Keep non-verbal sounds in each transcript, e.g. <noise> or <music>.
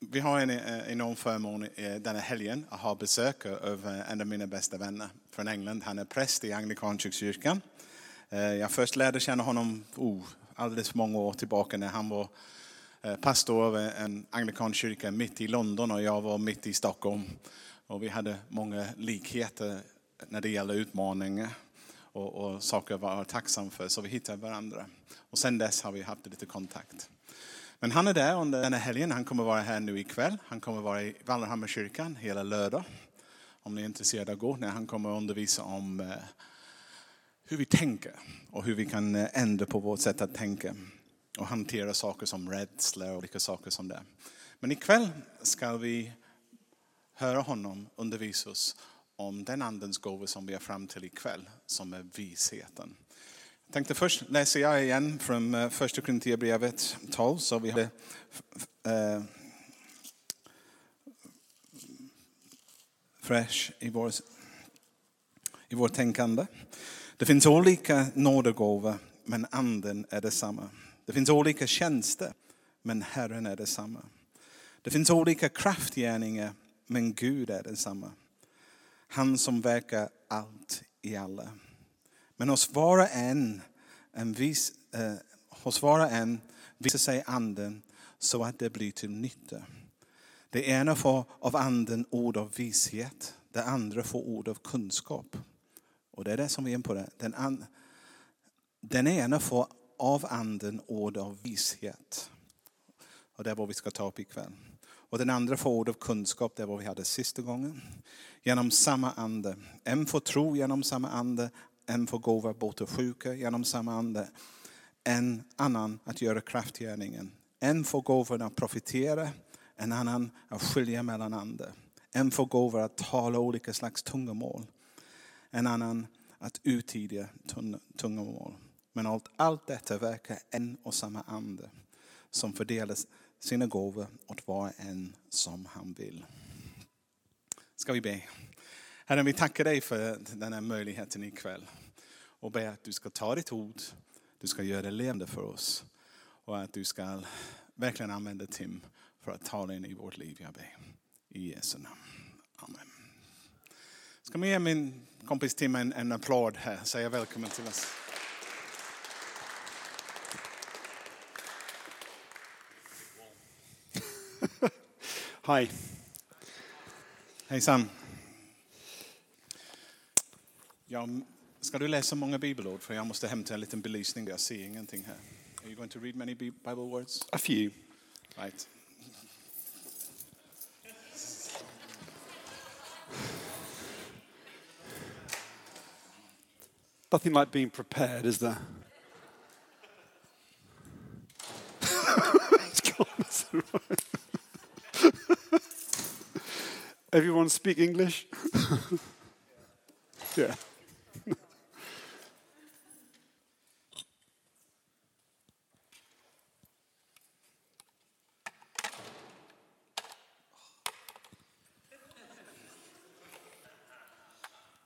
Vi har en eh, enorm förmån eh, denna helgen att ha besök av eh, en av mina bästa vänner från England. Han är präst i Anglikanska kyrkan. Eh, Jag först lärde känna honom oh, alldeles för många år tillbaka när han var eh, pastor av en anglikansk kyrka mitt i London och jag var mitt i Stockholm. Och vi hade många likheter när det gäller utmaningar och, och saker att vara tacksam för, så vi hittade varandra. Och sen dess har vi haft lite kontakt. Men han är där under den här helgen. Han kommer vara här nu ikväll. Han kommer vara i Vallhammarkyrkan hela lördag. Om ni är intresserade av att gå, när han kommer att undervisa om eh, hur vi tänker och hur vi kan eh, ändra på vårt sätt att tänka och hantera saker som rädsla och olika saker som det. Men ikväll ska vi höra honom undervisa oss om den andens gåva som vi är fram till ikväll, som är visheten. Jag tänkte först läser jag igen från eh, första Korinthierbrevet 12, så vi har det, eh, fresh i vår, i vår tänkande. Det finns olika nådegåvor, men anden är detsamma. Det finns olika tjänster, men Herren är detsamma. Det finns olika kraftgärningar, men Gud är densamma. Han som verkar allt i alla. Men hos var och en, en vis, eh, hos var och en visar sig anden så att det blir till nytta. Det ena får av anden ord av vishet, det andra får ord av kunskap. Och det är det som vi är inne på. Det. Den, an, den ena får av anden ord av vishet. Och det är vad vi ska ta upp ikväll. Och den andra får ord av kunskap, det är vad vi hade sista gången. Genom samma ande. En får tro genom samma ande, en får gåva att bota sjuka genom samma ande. En annan att göra kraftgärningen. En får gåvan att profitera, en annan att skilja mellan andra. En får gåvan att tala olika slags tungomål en annan att uttyda tun- tungomål. Men allt, allt detta verkar en och samma ande som fördelar sina gåvor åt var och en som han vill. Ska vi be? Herre, vi tackar dig för den här möjligheten ikväll och ber att du ska ta ditt ord, du ska göra det levande för oss och att du ska verkligen använda Tim för att tala in i vårt liv, jag ber. I Jesu namn. Amen. Ska man ge min kompis Tim en, en applåd här? Säga välkommen till oss. Hi. Hejsan. Ja, ska du läsa många bibelord? För jag måste hämta en liten belysning. Jag ser ingenting här. Are you going to read many bi- Bible words? A few. Right. Nothing like being prepared, is there? <laughs> It's gone, it's all right. <laughs> Everyone speak English? <laughs> yeah.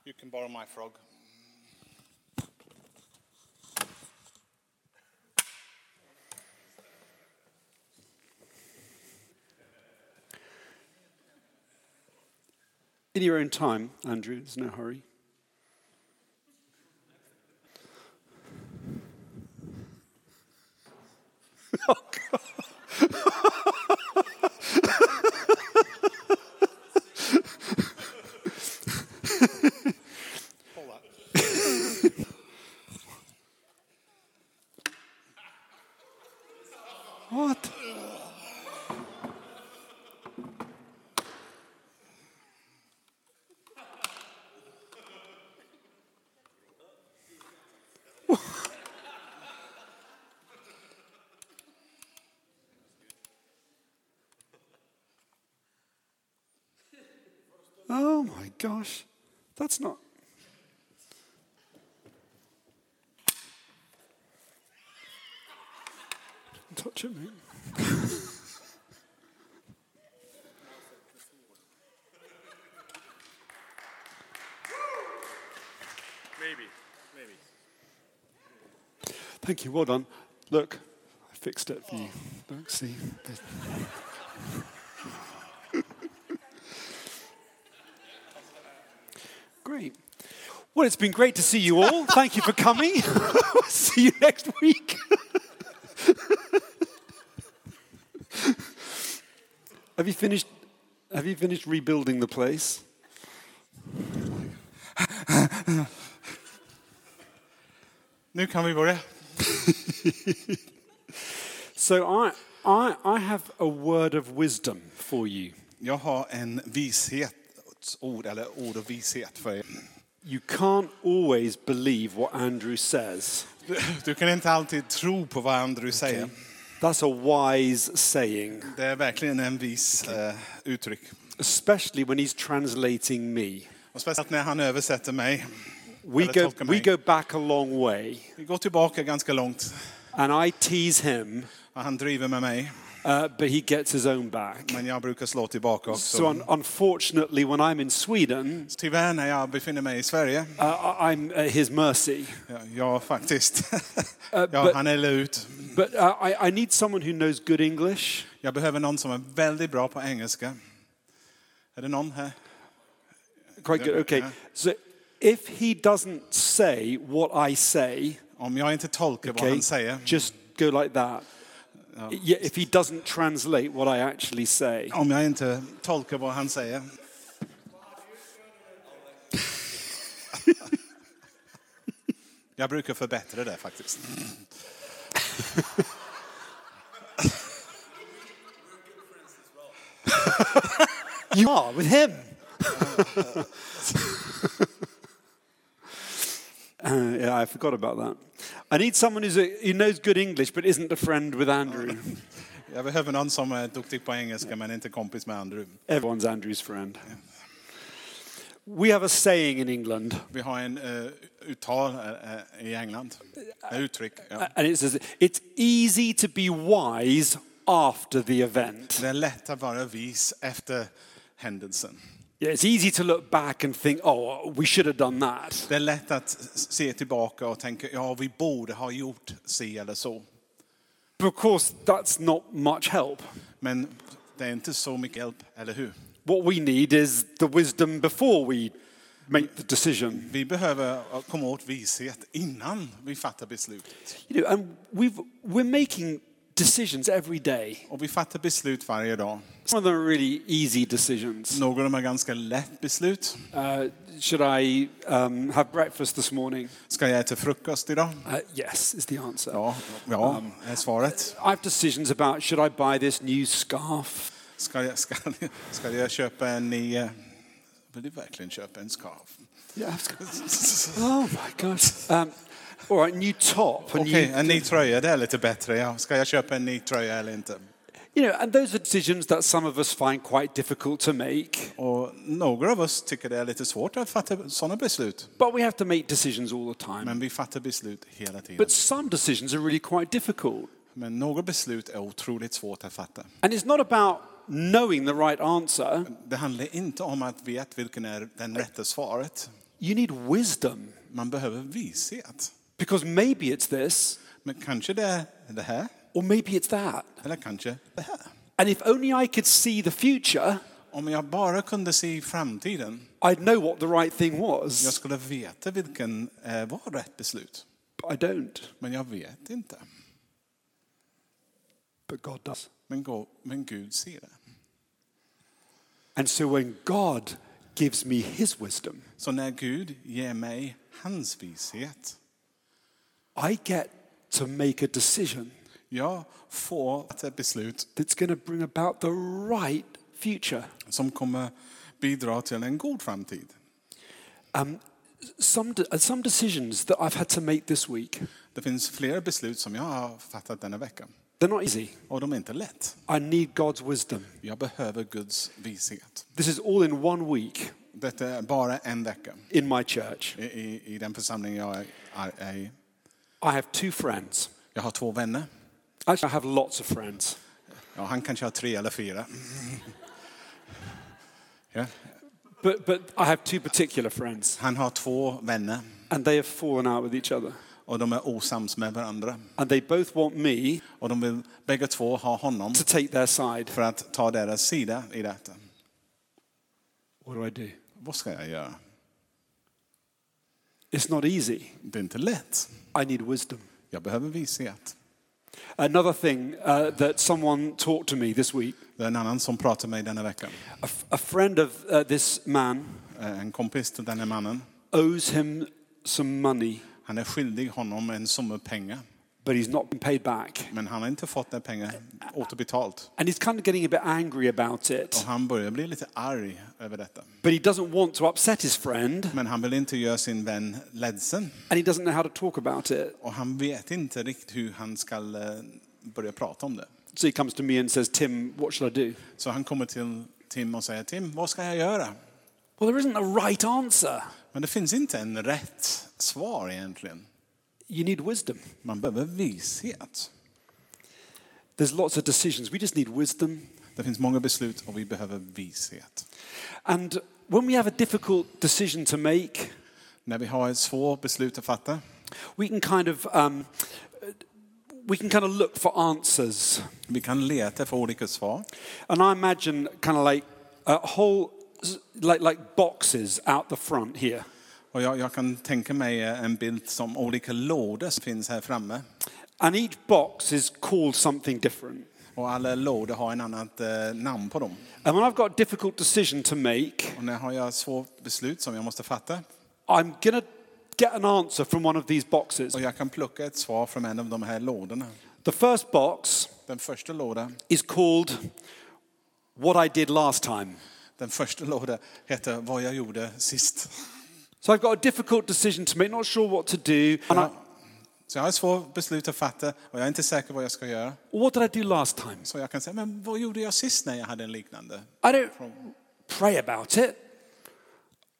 You can borrow my frog. In your own time, Andrew, there's no hurry. <laughs> Oh, <laughs> Hold that. <laughs> What? oh my gosh. That's not. Touch it, mate. Maybe, maybe. Thank you. Well done. Look, I fixed it for you. Don't see. Great. Well, it's been great to see you all. Thank you for coming. <laughs> We'll see you next week. <laughs> have you finished? Have you finished rebuilding the place? Nu kan vi börja. So I, I, I have a word of wisdom for you. Jag har en vishetsord, eller ord och vishet för er. You can't always believe what Andrew says. Du, du kan inte alltid tro på vad Andrew säger. That's a wise saying, Det är verkligen en vis eh, uttryck. especially when he's translating me. Och speciellt när han översätter mig. We Eller go, tolkar we mig. go back a long way, Vi går tillbaka ganska långt. and I tease him, Och han driver med mig, uh, but he gets his own back. men jag brukar slå tillbaka också. So un- unfortunately, when I'm in Sweden, Tyvärr när jag befinner mig i Sverige, uh, I- I'm at his mercy. ja, jag faktiskt, <laughs> ja, Eh, but- han är ut. But uh, I, I need someone who knows good English. Jag behöver någon som är väldigt bra på engelska. Är det någon här? Quite good. Okay. So if he doesn't say what I say, Om jag inte tolkar vad okay, han säger, just go like that. Yeah, if he doesn't translate what I actually say. om jag inte tolkar vad han säger. <laughs> Jag brukar förbättra det faktiskt. You are with him. Uh, yeah, I forgot about that. I need someone who's a, who knows good English but isn't a friend with Andrew. Jag behöver någon som är duktig på engelska men inte kompis med Andrew. Everyone's Andrew's friend. We have a saying in England, Vi har en eh, uttal eh, i England. Ett uttryck. Ja. and it says it's easy to be wise after the event. Det är lätt att vara vis efter händelsen. Yeah, it's easy to look back and think, oh, we should have done that. Det är lätt att se tillbaka och tänka, ja vi borde ha gjort si eller så. But of course, that's not much help. Men det är inte så mycket hjälp, eller hur? What we need is the wisdom before we make the decision. Vi behöver eh, komma åt vishet innan vi fattar beslut. You know, and we've, we're making decisions every day. Och vi fattar beslut varje dag. Some of them are really easy decisions. Några av dem är ganska lätt beslut. Uh, should I um, have breakfast this morning? Ska jag äta frukost idag? Uh, yes, is the answer. Ja, ja är svaret. I have decisions about should I buy this new scarf? Ska jag, ska, <laughs> jag- ska jag köpa en ny... eh, Vill du verkligen köpa en scarf? Yeah. Oh my gosh. Um, all right, new top. a new- Okej, en ny tröja, det är lite bättre. Ja. Ska jag köpa en ny tröja eller inte? You know, and those are decisions that some of us find quite difficult to make, Och några av oss tycker det är lite svårt att fatta sådana beslut. but we have to make decisions all the time. Men vi fattar beslut hela tiden. But some decisions are really quite difficult. Men några beslut är otroligt svårt att fatta. And it's not about knowing the right answer, Det handlar inte om att veta vilken är den rätta svaret. you need wisdom Man behöver vishet. because maybe it's this Men kanske det är det här, or maybe it's that. eller kanske det här. And if only I could see the future, Om jag bara kunde se framtiden, I'd know what the right thing jag was. skulle veta vilken eh, var rätt beslut. But I don't, Men jag vet inte. but God does. Men, gå, men Gud ser det. And so when God gives me his wisdom, Så när Gud ger mig hans vishet, I get to make a decision jag får ett beslut that's going to bring about the right future. som kommer bidra till en god framtid. Um, some, de- uh, some decisions that I've had to make this week, Det finns flera beslut som jag har fattat denna vecka. they're not easy. Och de är inte lätt. I need God's wisdom. Jag behöver Guds vishet. This is all in one week Detta är bara en vecka in my church. i, i, i den församling jag är, är, är i. I have two friends. Jag har två vänner. Actually, I have lots of friends. Ja, han kanske har tre eller fyra. Ja. But, but I have two particular friends, Han har två vänner and they have fallen out with each other. och de är osams med varandra. and they both want me Och de vill bägge två ha honom to take their side. för att ta deras sida i detta. What do I do? Vad ska jag göra? It's not easy. Det är inte lätt. I need wisdom. Jag behöver vishet. Another thing uh, that someone talked to me this week, Det är en annan som pratar med mig denna veckan. a, f- a friend of uh, this man Eh, En kompis till denna mannen. owes him some money, Han är skyldig honom en summa pengar. but he's not been paid back. Men han har inte fått den pengar återbetalt. And he's kind of getting a bit angry about Och it, han börjar bli lite arg över detta. but he doesn't want to upset his friend, Men han vill inte göra sin vän ledsen. and he doesn't know how to talk about it. Och han vet inte riktigt hur han ska eh, börja prata om det. So he comes to me and says, Tim, what shall I do? Så han kommer till Tim och säger Tim, vad ska jag göra? Well, there isn't a right answer. Men det finns inte en rätt svar egentligen. You need wisdom. Man behöver vishet. There's lots of decisions. We just need wisdom. Det finns många beslut och vi behöver vishet. And when we have a difficult decision to make, När vi har ett svårt beslut att fatta we can kind of um, we can kind of look for answers. Vi kan leta efter olika svar. And I imagine kind of like a whole like like boxes out the front here, Och jag, jag kan tänka mig eh, en bild som olika lådor som finns här framme. and each box is called something different. Och alla lådor har en annat eh, namn på dem. And when I've got a difficult decision to make, Och när har jag ett svårt beslut som jag måste fatta I'm gonna get an answer from one of these boxes. och jag kan plocka ett svar från en av de här lådorna. The first box Den första lådan, is called "What I Did Last Time." den första lådan heter Vad jag gjorde sist. So I've got a difficult decision to make, not sure what to do. And I, Så jag har ett svårt beslut att fatta och jag är inte säker vad jag ska göra. what did I do last time? Så jag kan säga, men vad gjorde jag sist när jag hade en liknande? I don't pray about it.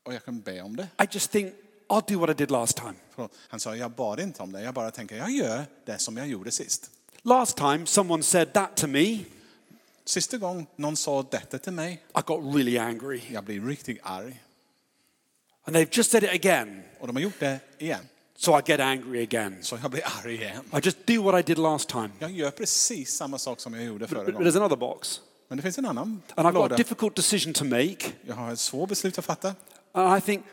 Och jag kan be om det. I just think, I'll do what I did last time. Förlåt. Han sa, jag bad inte om det, jag bara tänker, jag gör det som jag gjorde sist. Last time someone said that to me, Sista gången någon sa detta till mig, I got really angry. jag blir riktigt arg. And they've just said it again, Och de har gjort det igen, so I get angry again. så jag blir arg igen. I just do what I did last time. Jag gör precis samma sak som jag gjorde förra But gången. there's another box. Men det finns en annan And I've got a låda. difficult decision to make, Jag har ett svårt beslut att fatta. and I think,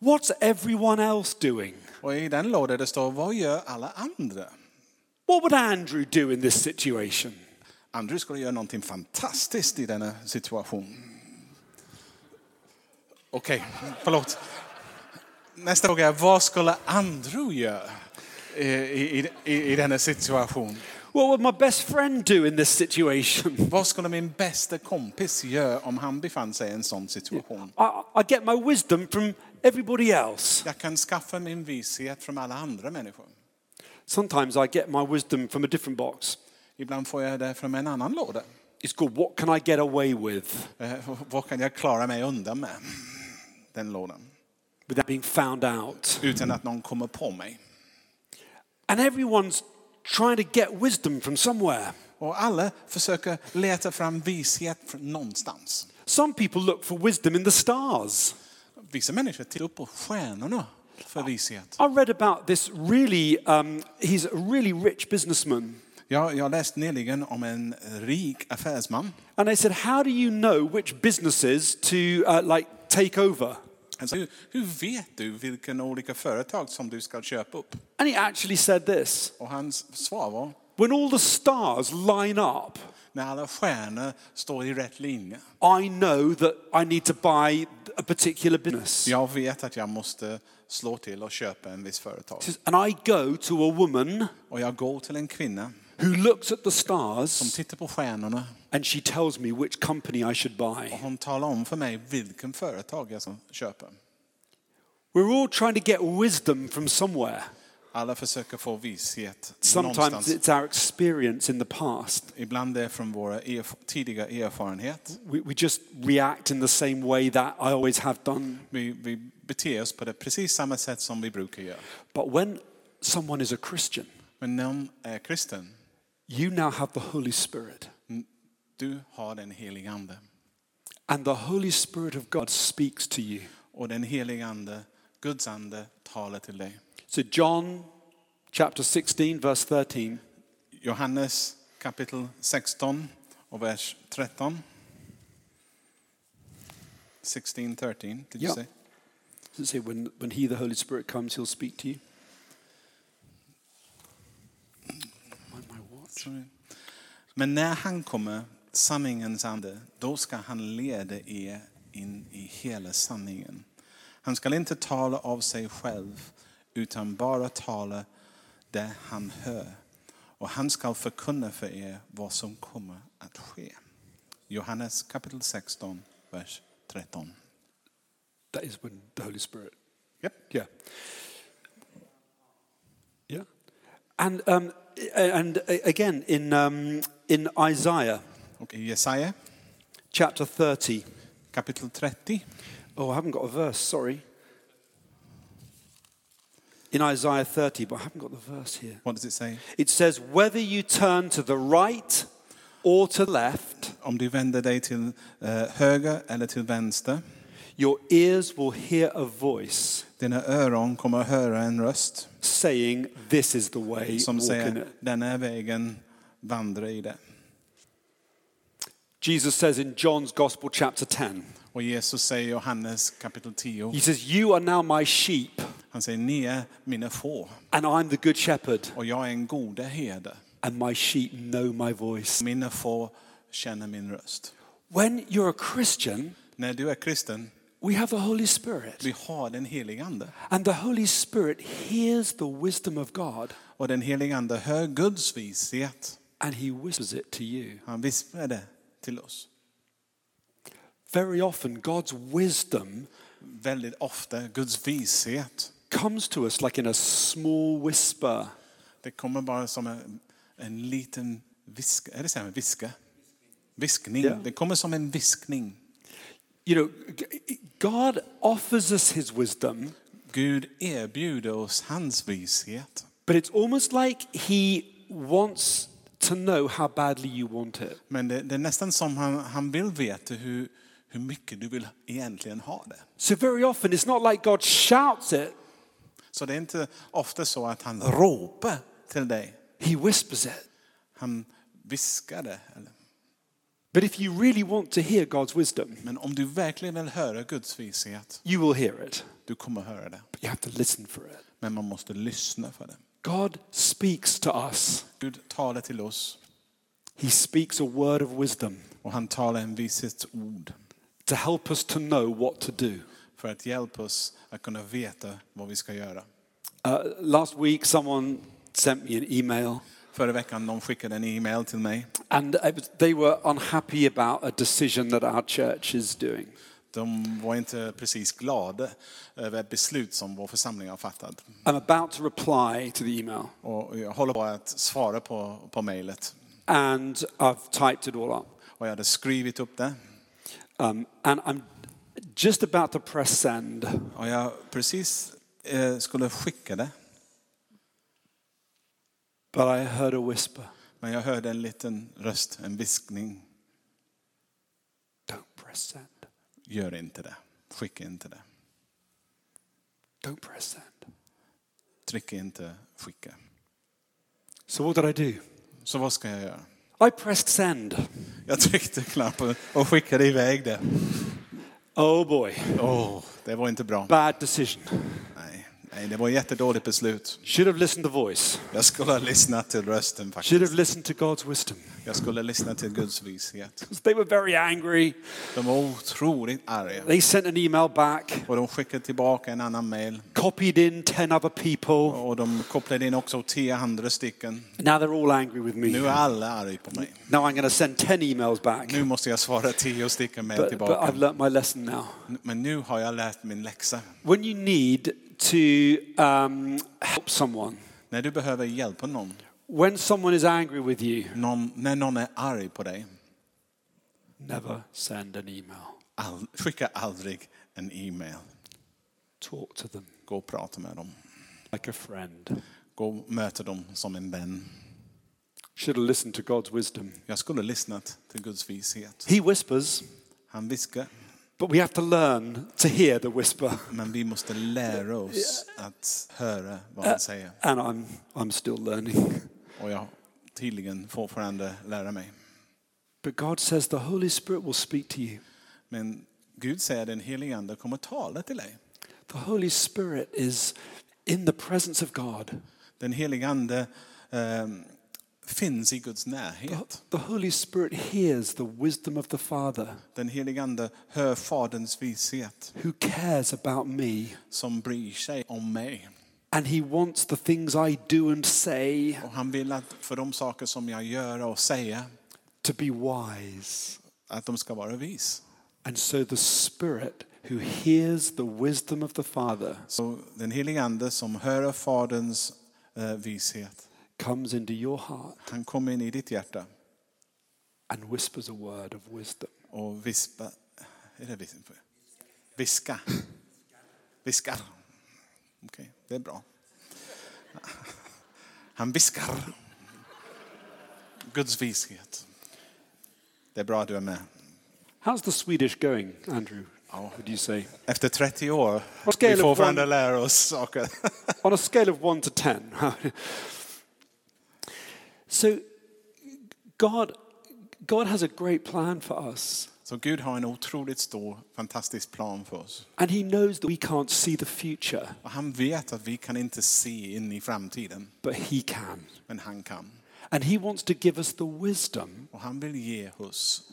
what's everyone else doing? Och i den lådan det står, vad gör alla andra? What would Andrew do in this situation? Andrew skulle göra någonting fantastiskt i denna situation. Okej, förlåt. Nästa fråga är, vad skulle Andrew göra i, i, i, i denna situation? What would my best friend do in this situation? Vad skulle min bästa kompis göra om han befann sig i en sån situation? I, I get my wisdom from everybody else. Jag kan skaffa min vishet från alla andra människor. Sometimes I get my wisdom from a different box. Ibland får jag det från en annan låda. It's called What Can I Get Away With Eh, Vad kan jag klara mig undan med? Den lådan. Without Being Found Out? Utan att någon kommer på mig. And everyone's trying to get wisdom from somewhere. Och alla försöker leta fram vishet från någonstans. Some people look for wisdom in the stars. Vissa människor tittar upp på stjärnorna för vishet. I read about this really, um, he's a really rich businessman. Jag, jag läste nyligen om en rik affärsman. And they said, How do you know which businesses to uh, like take over? Alltså, hur, hur vet du vilken olika företag som du ska köpa upp? And he actually said this Och hans svar var, When all the stars line up, när alla stjärnor står i rätt linje. I know that I need to buy a particular business. Jag vet att jag måste slå till och köpa en viss företag. Says, And I go to a woman Och jag går till en kvinna who looks at the som stars tittar på stjärnorna and she tells me which company I should och buy. hon talar om för mig vilken företag jag ska köpa. We're all trying to get wisdom from somewhere. Alla försöker få vishet Sometimes någonstans. it's our experience in the past. Ibland det är från våra erf- tidiga erfarenhet. We, we just react in the same way that I always have done. Vi, vi beter oss på det precis samma sätt som vi brukar göra. But when someone is a Christian, Men när man är kristen, you now have the Holy Spirit. du har den helige Ande. And the Holy Spirit of God speaks to you. Och den helige Ande, Guds Ande, talar till dig. So, John chapter 16, verse 13. Johannes kapitel 16 och vers 13. 16, 13, did you Ja. say? Does it say, when, when He, the Holy Spirit, comes, He'll speak to you? Mind my watch. Sorry. Men när han kommer, sanningens ande, då ska han leda er in i hela sanningen. Han ska inte tala av sig själv, utan bara tala det han hör. Och han ska förkunna för er vad som kommer att ske. Johannes kapitel 16, vers 13. That is when the Holy Spirit. Yep. Yeah. Yeah. And, um, a- and a- again, in, um, in Isaiah Och i Jesaja chapter 30, kapitel 30, Oh, I haven't got a verse, sorry. In Isaiah 30, but I haven't got the verse here. what does it say? It says, Whether you turn to the right or to left, Om du vänder dig till eh, höger eller till vänster, your ears will hear a voice dina öron kommer att höra en röst. saying, This is the way, som walk in säger it. den här vägen, vandra i det. Jesus says in John's Gospel, chapter 10, Och Jesus säger i Johannes kapitel 10, He says, You are now my sheep, han säger ni är mina får and I'm the good shepherd, och jag är en gode herde. and my sheep know my voice. Mina får känner min röst. When you're a Christian, När du är kristen, we have the Holy Spirit. vi har den helige ande. And the Holy Spirit hears the wisdom of God Och den helige ande hör Guds vishet. and he whispers it to you. Han vispar det till oss. Very often, God's wisdom Väldigt ofta, Guds vishet, comes to us like in a small whisper. det kommer bara som en, en liten viska. Är det så här med viska? Viskning. Ja. Det kommer som en viskning. You know, g- God offers us his wisdom, Gud erbjuder oss hans vishet. but it's almost like he wants to know how badly you want it. Men det, det är nästan som han, han vill veta hur, hur mycket du vill egentligen ha det. So, very often, it's not like God shouts it, Så det är inte ofta så att han ropar till dig. he whispers it. Han viskar det. eller- But if you really want to hear God's wisdom, Men om du verkligen vill höra Guds vishet, you will hear it, du kommer höra det. but you have to listen for it. Men man måste lyssna för det. God speaks to us. Gud talar till oss He speaks a word of wisdom och han talar en vishetsord to help us to know what to do. för att hjälpa oss att kunna veta vad vi ska göra. Uh, last week, someone sent me an email, Förra veckan de skickade en e-mail till mig and I was, they were unhappy about a decision that our church is doing. De var inte precis glada över ett beslut som vår församling har fattat. I'm about to reply to the email, Och jag håller på att svara på, på mejlet. and I've typed it all up. Och jag hade skrivit upp det. Um, and I'm just about to press send Och jag precis eh, skulle skicka det. but I heard a whisper Men jag hörde en liten röst, en viskning. Don't press send. Gör inte det. Skicka inte det. Don't press send. Tryck inte skicka. So, what did I do? Så vad ska jag göra? I pressed send. Jag tryckte knappen och skickade iväg det. Oh boy, Åh, det var inte bra. bad decision. Nej, nej, det var ett jättedåligt beslut. Should have listened to voice. Jag skulle ha lyssnat till rösten faktiskt. Should have listened to God's wisdom. Jag skulle lyssna till Guds vishet. They were very angry. De var otroligt arga. They sent an email back, Och de skickade tillbaka en annan mail. copied in 10 other people. Och de kopplade in också tio andra stycken. Now they're all angry with me. Nu är alla arga på mig. Now I'm going to send 10 emails back. Nu måste jag svara tio stycken mail But, but I've tillbaka. learnt my lesson now. Men nu har jag lärt min läxa. When you need to um, help someone, När du behöver hjälpa någon, when someone is angry with you, någon när någon är arg på dig, never send an email. all, skicka aldrig en e-mail. Talk to them Gå och prata med dem. like a friend. Gå och möta dem som en vän. Should have listened to God's wisdom. Jag skulle lyssnat till Guds vishet. He whispers, Han viskar, But we have to learn to hear the whisper. Men vi måste lära oss att höra vad han säger. And I'm, I'm still learning. Och jag tydligen fortfarande lära mig. But God says the Holy Spirit will speak to you. Men Gud säger att den helige ande kommer tala till dig. The Holy Spirit is in the presence of God. Den helige ande ehm, finns i Guds närhet. The Holy Spirit hears the wisdom of the Father Den helige ande hör faderns vishet who cares about me. som bryr sig om mig. And he wants the things I do and say Och han vill att för de saker som jag gör och säger, to be wise. att de ska vara vis. And so the Spirit who hears the wisdom of the Father Så den helige ande som hör faderns eh, vishet, comes into your heart han kommer in i ditt hjärta and whispers a word of wisdom. och vispa, är det vis- viska. Viskar. Okej, det är bra. Han viskar. Guds vishet. Det är bra att du är med. How's the Swedish going, Andrew? Would you say? Efter 30 år, Vad ska vi jag får lova? fortfarande lära oss saker. On a scale of one to ten. <laughs> so God God has a great plan for us. Så Gud har en otroligt stor, fantastisk plan för oss. And he knows that we can't see the future, Och han vet att vi kan inte se in i framtiden, but he can. men han kan. And he wants to give us the wisdom Och han vill ge oss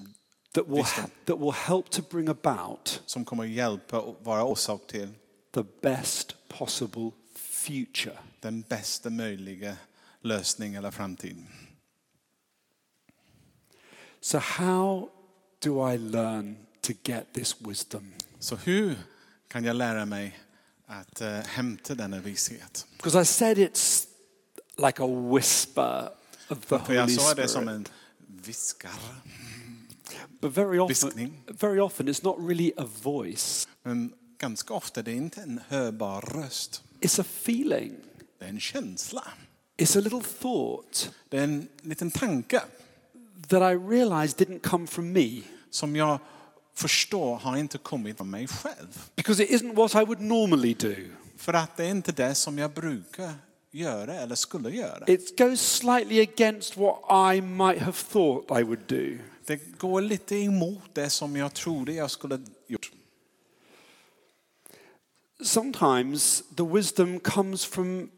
that will, Wisdom. that will help to bring about som kommer hjälpa och vara orsak till the best possible future. den bästa möjliga lösning eller framtid. So, how do I learn to get this wisdom? Så hur kan jag lära mig att eh, hämta denna vishet? Because I said it's like a whisper of the För Holy jag sa det som Spirit. en viskar. But very viskning. often, very often, it's not really a voice, Men ganska ofta det är inte en hörbar röst. it's a feeling, Det är en känsla. it's a little thought Det är en liten tanke that I realize didn't come from me. som jag förstår har inte kommit från mig själv. Because it isn't what I would normally do. För att det är inte det som jag brukar göra eller skulle göra. It goes slightly against what I might have thought I would do. Det går lite emot det som jag trodde jag skulle gjort. Sometimes the wisdom comes from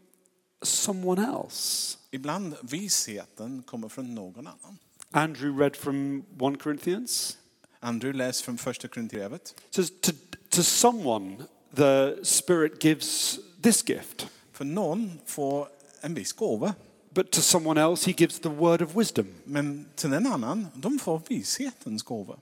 someone else. Ibland visheten kommer från någon annan. Andrew read from 1 Corinthians. Andrew läser från första Korinthierbrevet. It says, to, to someone, the Spirit gives this gift, För någon får en viss gåva, but to someone else, he gives the word of wisdom. men till en annan, de får vishetens gåva.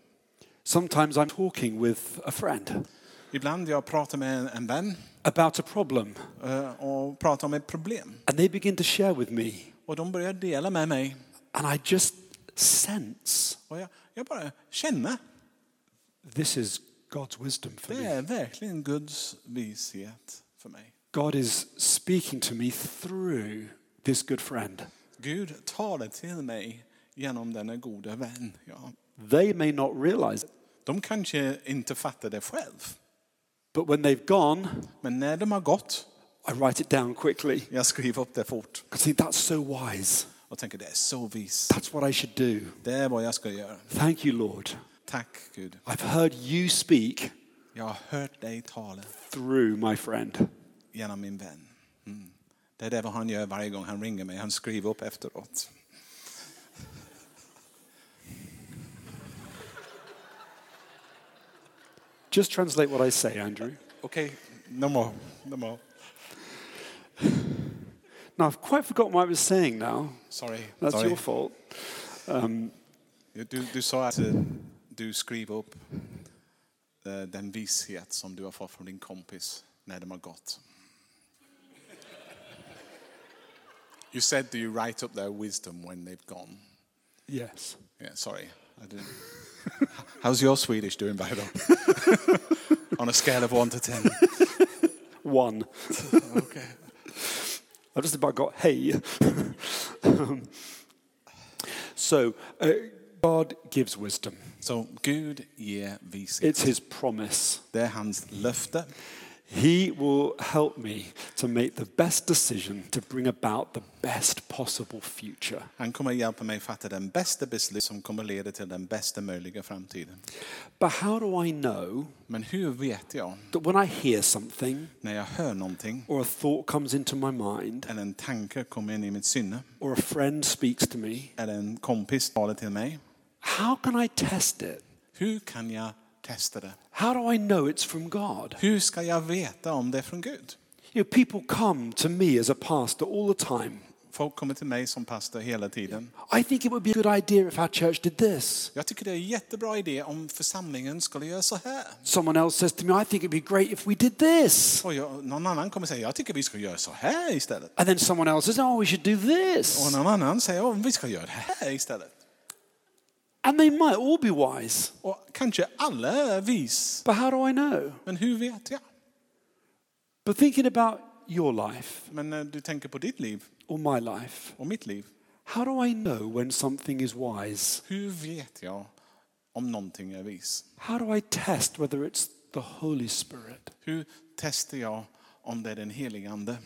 Sometimes I'm talking with a friend Ibland jag pratar med en- en vän about a problem, eh, och pratar om ett problem. and they begin to share with me, Och de börjar dela med mig. and I just sense Och jag, jag bara känner, this is God's wisdom for det me. är verkligen Guds vishet för mig. God is speaking to me through this good friend. Gud talar till mig genom denna goda vän. Ja. They may not realize it, De kanske inte fattar det själv. but when they've gone, Men när de har gått, I write it down quickly. jag skriver upp det fort 'Cause See, that's so wise. och tänker det är så vis. That's what I should do. Det är vad jag ska göra. Thank you, Lord. Tack Gud. I've heard you speak Jag har hört dig tala through my friend. genom min vän. Mm. Det är det vad han gör varje gång han ringer mig. Han skriver upp efteråt. Just translate what I say, Andrew. Okej, no more. No more. Now, I've quite forgotten what I was saying now. Sorry. That's Sorry. your fault. Du, du sa att eh, du skriver upp eh, den vishet som du har fått från din kompis när de har gått. You said that you write up their wisdom when they've gone. Yes. Yeah, sorry. I didn't. How's your Swedish doing, by the way? On a scale of one to ten. One. Okay. I've just about got hey. Um, so, uh, God gives wisdom. Så Gud ger vishet. It's his promise. Det är hans löfte. He will help me to make the best decision to bring about the best possible future. Han kommer hjälpa mig fatta den bästa beslut som kommer leda till den bästa möjliga framtiden. But how do I know Men hur vet jag that when I hear something när jag hör någonting or a thought comes into my mind eller en tanke kommer in i mitt sinne or a friend speaks to me, eller en kompis talar till mig? how can I test it? Hur kan jag testa det? How do I know it's from God? Hur ska jag veta om det är från Gud? You know, people come to me as a pastor all the time. Folk kommer till mig som pastor hela tiden. I think it would be a good idea if our church did this. Jag tycker det är en jättebra idé om församlingen skulle göra så här. Someone else says to me, I think it'd be great if we did this. Och jag, någon annan kommer säga, jag tycker vi ska göra så här istället. And then someone else says, Oh, we should do Och this. någon annan säger, oh, vi ska göra det här istället. And they might all be wise. Och kanske alla är vis, But how do I know? men hur vet jag? But thinking about your life Men när du tänker på ditt liv or my life, och mitt liv, how do I know when something is wise? hur vet jag om någonting är vis? How do I test whether it's the Holy Spirit? Hur testar jag om det är den helige Ande?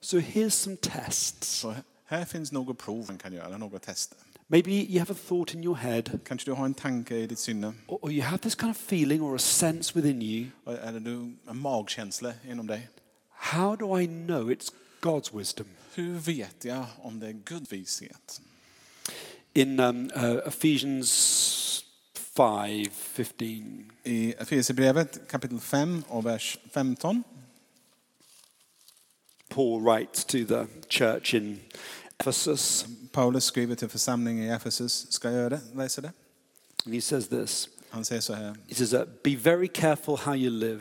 So here's some tests. Så här finns några prov man kan göra, några tester. Maybe you have a thought in your head, Kanske du har en tanke i ditt sinne, or or you have this kind of feeling or a sense within you. eller du en magkänsla inom dig. How do I know it's God's wisdom? Hur vet jag om det är Guds vishet? In um, uh, Ephesians 5 15. I Efesierbrevet kapitel 5 och vers 15 Paul writes to the church in Ephesus, Paulus skriver till församlingen i Efesus. Ska jag göra det? läsa det? and he says this Han säger så här. He says, uh, Be very careful how you live.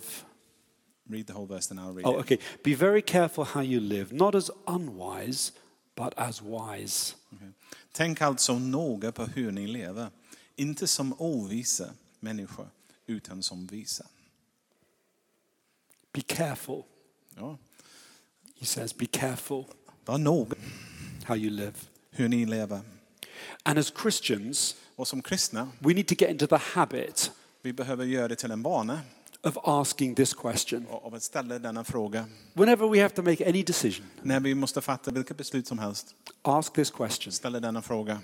Read the whole verse then I'll read Oh, it. okay. Be very careful how you live, not as unwise, but as wise, Okej. Tänk alltså noga på hur ni lever. Inte som ovisa människor, utan som visa. Be careful. Ja. He says, Be careful Var noga how you live. hur ni lever. And as Christians, Och som kristna, we need to get into the habit vi behöver göra det till en vana of asking this question. av att ställa denna fråga. Whenever we have to make any decision, När vi måste fatta vilket beslut som helst, ask this question ställa denna fråga.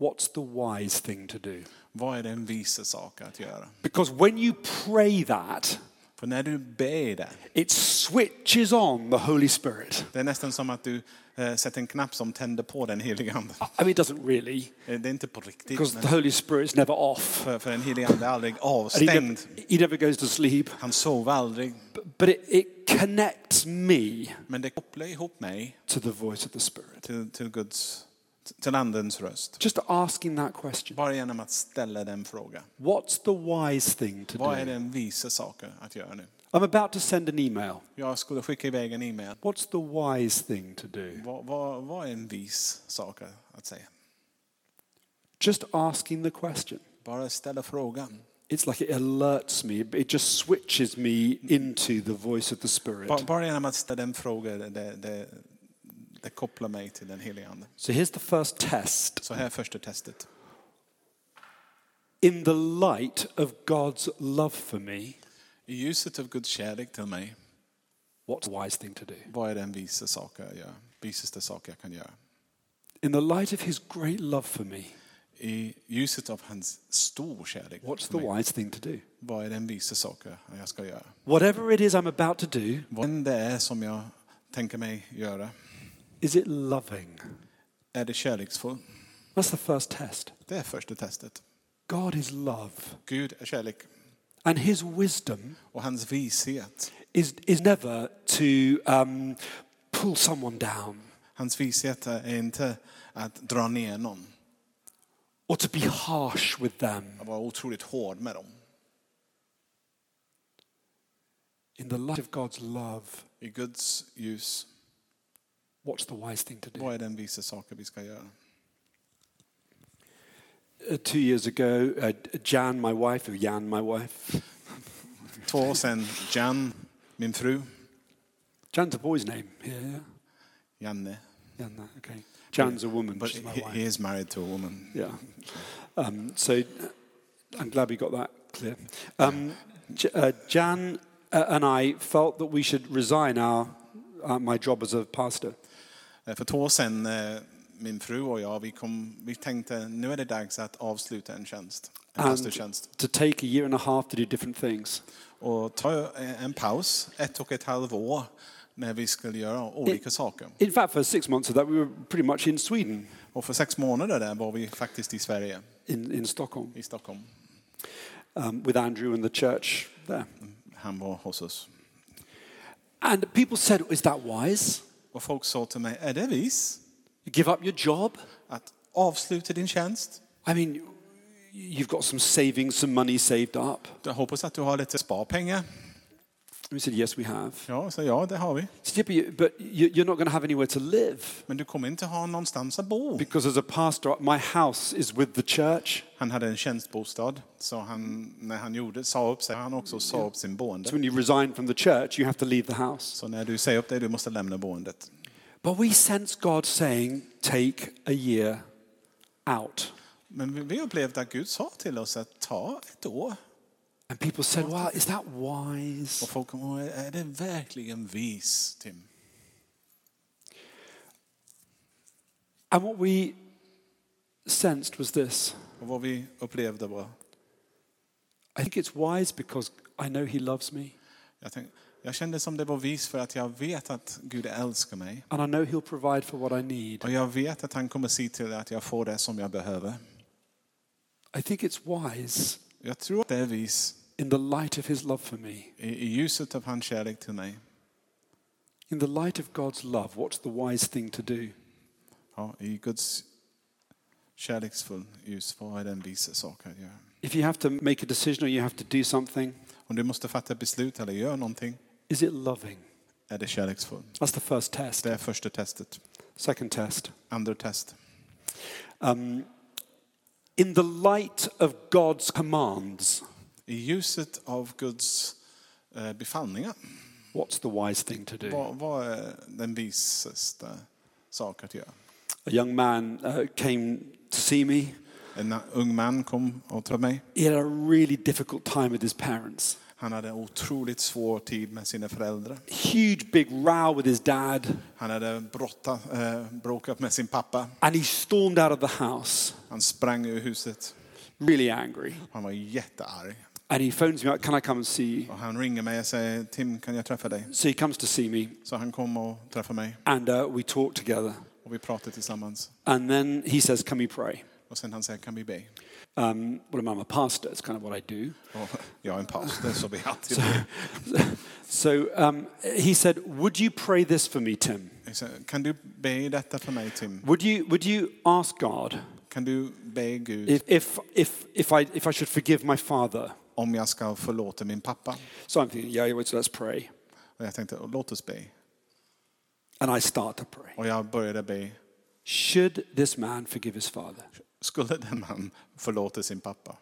What's the wise thing to do? Vad är den visa sak att göra? Because when you pray that, För när du ber det, it switches on the Holy Spirit. det är nästan som att du eh, sätter en knapp som tänder på den heliga anden. I mean, it doesn't really, Eh, Det är inte på riktigt, because men the Holy Spirit's never off. för, för den helige ande är aldrig And he, never, avstängd. he never goes to sleep. Han sover aldrig. But, but it, it connects me Men det kopplar ihop mig to the voice of the Spirit. till, till, Guds, till andens röst. Just asking that question Bara genom att ställa den frågan. What's the wise thing to Vad är do? den visa saken att göra nu? I'm about to send an email. Jag skulle skicka iväg en e-mail. What's the wise thing to do? Vad, vad, vad är en vis sak att säga? Just asking the question. Bara ställa frågan. It's like it alerts me, it just switches me into the voice of the Spirit. Bara, bara genom att ställa den frågan, det, det, det kopplar mig till den helige ande. So here's the first test. Så här är första testet. In the light of God's love for me, I ljuset av Guds kärlek till mig, what's the wise thing to do? vad är den visa saken jag gör? Visaste sak jag kan göra. In the light of his great love for me, I ljuset av hans stor kärlek what's till the mig, wise thing to do? vad är den visa saken jag ska göra? Whatever it is I'm about to do, Vad än det är som jag tänker mig göra, is it loving? är det kärleksfull? That's the first test. Det är första testet. God is love, Gud är kärlek and his wisdom och hans vishet. is, is never to um, pull someone down Hans vishet är inte att dra ner någon, or to be harsh with them. att vara otroligt hård med dem. In the light of God's love, I Guds ljus, what's the wise thing to do? vad är den visa saken vi ska göra? Uh, two years ago, uh, Jan, my wife, or Jan, my wife, Två år sedan, Jan, min fru, Jan's a boy's name. Yeah, yeah. Janne, Jan, uh, okay. Jan's a woman. But She's my he, wife. he is married to a woman. Yeah. Um, so I'm glad we got that clear. Um, J- uh, Jan uh, and I felt that we should resign our, uh, my job as a pastor. Eh, För två år sedan, eh, min fru och jag, vi, kom, vi tänkte nu är det dags att avsluta en tjänst. En And pastortjänst. to take a year and a half to do different things. Och ta eh, en paus, ett och ett halvt år, när vi skulle göra olika saker. In fact, for six months of that, we were pretty much in Sweden, Och för sex månader där var vi faktiskt i Sverige, in, in Stockholm, i Stockholm. um, with Andrew and the church there. Han var hos oss. And people said, Is that wise? Och folk sa till mig, är det vis You give up your job? att avsluta din tjänst? I mean, you've got some savings, some money saved up. Jag hoppas att du har lite sparpengar. And we said, Yes, we have. Ja, så ja, det har vi. Said, "Yeah, but you- but you- you're not going to have anywhere to live Men du kommer inte ha någonstans att bo. because as a pastor, my house is with the church. Han hade en tjänstbostad, så han, när han gjorde, sa upp sig, han också sa upp sin So boende. when you resign from the church, you have to leave the house. Så när du säger upp dig, du måste lämna boendet. But we sense God saying, take a year out. Men vi- vi upplevde att Gud sa till oss att ta ett år. And people said, well, is that Och wise? folk kom, "Åh, är det verkligen vis, Tim? And what we sensed was this Och vad vi upplevde var, I think it's wise because I know He loves me jag, tänkte, jag kände som det var vis för att jag vet att Gud älskar mig. and I know He'll provide for what I need. Och jag vet att han kommer se till att jag får det som jag behöver. I think it's wise Jag tror att det är vis in the light of His love for me. i, i ljuset av hans kärlek till mig. In the light of God's love, what's the wise thing to do? Ja, I Guds kärleksfull ljus, vad är den visa sak att göra? If you have to make a decision or you have to do something, Om du måste fatta ett beslut eller göra någonting, is it loving? är det kärleksfullt. That's the first test. Det är första testet. Second test. Andra test. Um, in the light of God's commands, I ljuset av Guds eh, befallningar, what's the wise thing to do? vad, vad är den visaste sak att göra? A young man uh, came to see me. En ung man kom och till mig. He had a really difficult time with his parents. Han hade en otroligt svår tid med sina föräldrar. Huge, big row with his dad, Han hade brottat, eh, bråkat med sin pappa. and he stormed out of the house, Han sprang ur huset. really angry. Han var jättearg. And he phones me up, Can I come and see you? Och han ringer mig och säger Tim, kan jag träffa dig? So he comes to see me, Så han kom och träffade mig and uh, we talk together. och vi pratade tillsammans. And then he says, Can we pray? Och sen han säger, kan vi be? Um, well, I'm a pastor, it's kind of what I do. Och jag är en pastor så vi alltid ber. So um, he said, Would you pray this for me, Tim? Jag sa, Kan du be detta för mig Tim? Would you, would you ask God Kan du be Gud if, if, if, if, I, if I should forgive my father? om jag ska förlåta min pappa? So I'm thinking, Yeah, yeah, so let's pray. Och jag tänkte, låt oss be. And I start to pray. Och jag började be, Should this man forgive his father? skulle den man förlåta sin pappa?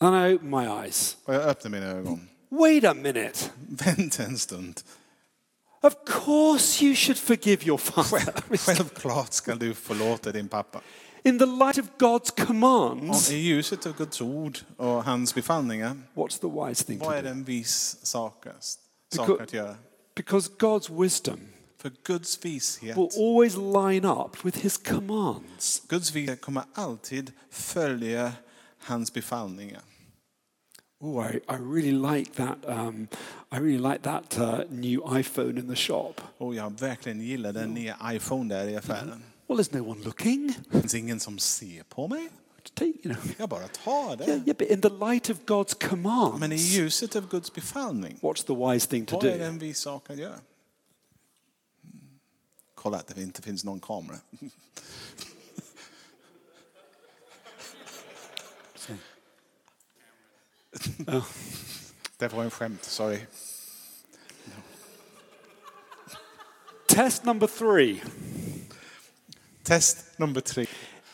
And I open my eyes. Och jag öppnade mina ögon. Wait a minute. Vänta en stund. Of course you should forgive your <laughs> father. Självklart ska du förlåta din pappa. In the light of God's Och commands, I ljuset av Guds ord och hans befallningar, what's the wise thing vad to är do? den vis sak, sak Because- att göra? Because God's wisdom För Guds vishet, will always line up with his commands. Guds vishet kommer alltid följa hans befallningar. Oh, I, I really like that. Um, I really like that uh, new iPhone in the shop. Och jag verkligen gillar den nya iPhone där i affären. Well, there's no one looking. Det finns ingen som ser på mig. Take, you know. Jag bara tar Yeah, det. yeah, but in the light of God's Men i commands, ljuset av Guds befallning, what's the wise thing to vad är do? den vis sak att göra? Kolla att det inte finns någon kamera. Det var en skämt, sorry. Test number three. Test nummer tre.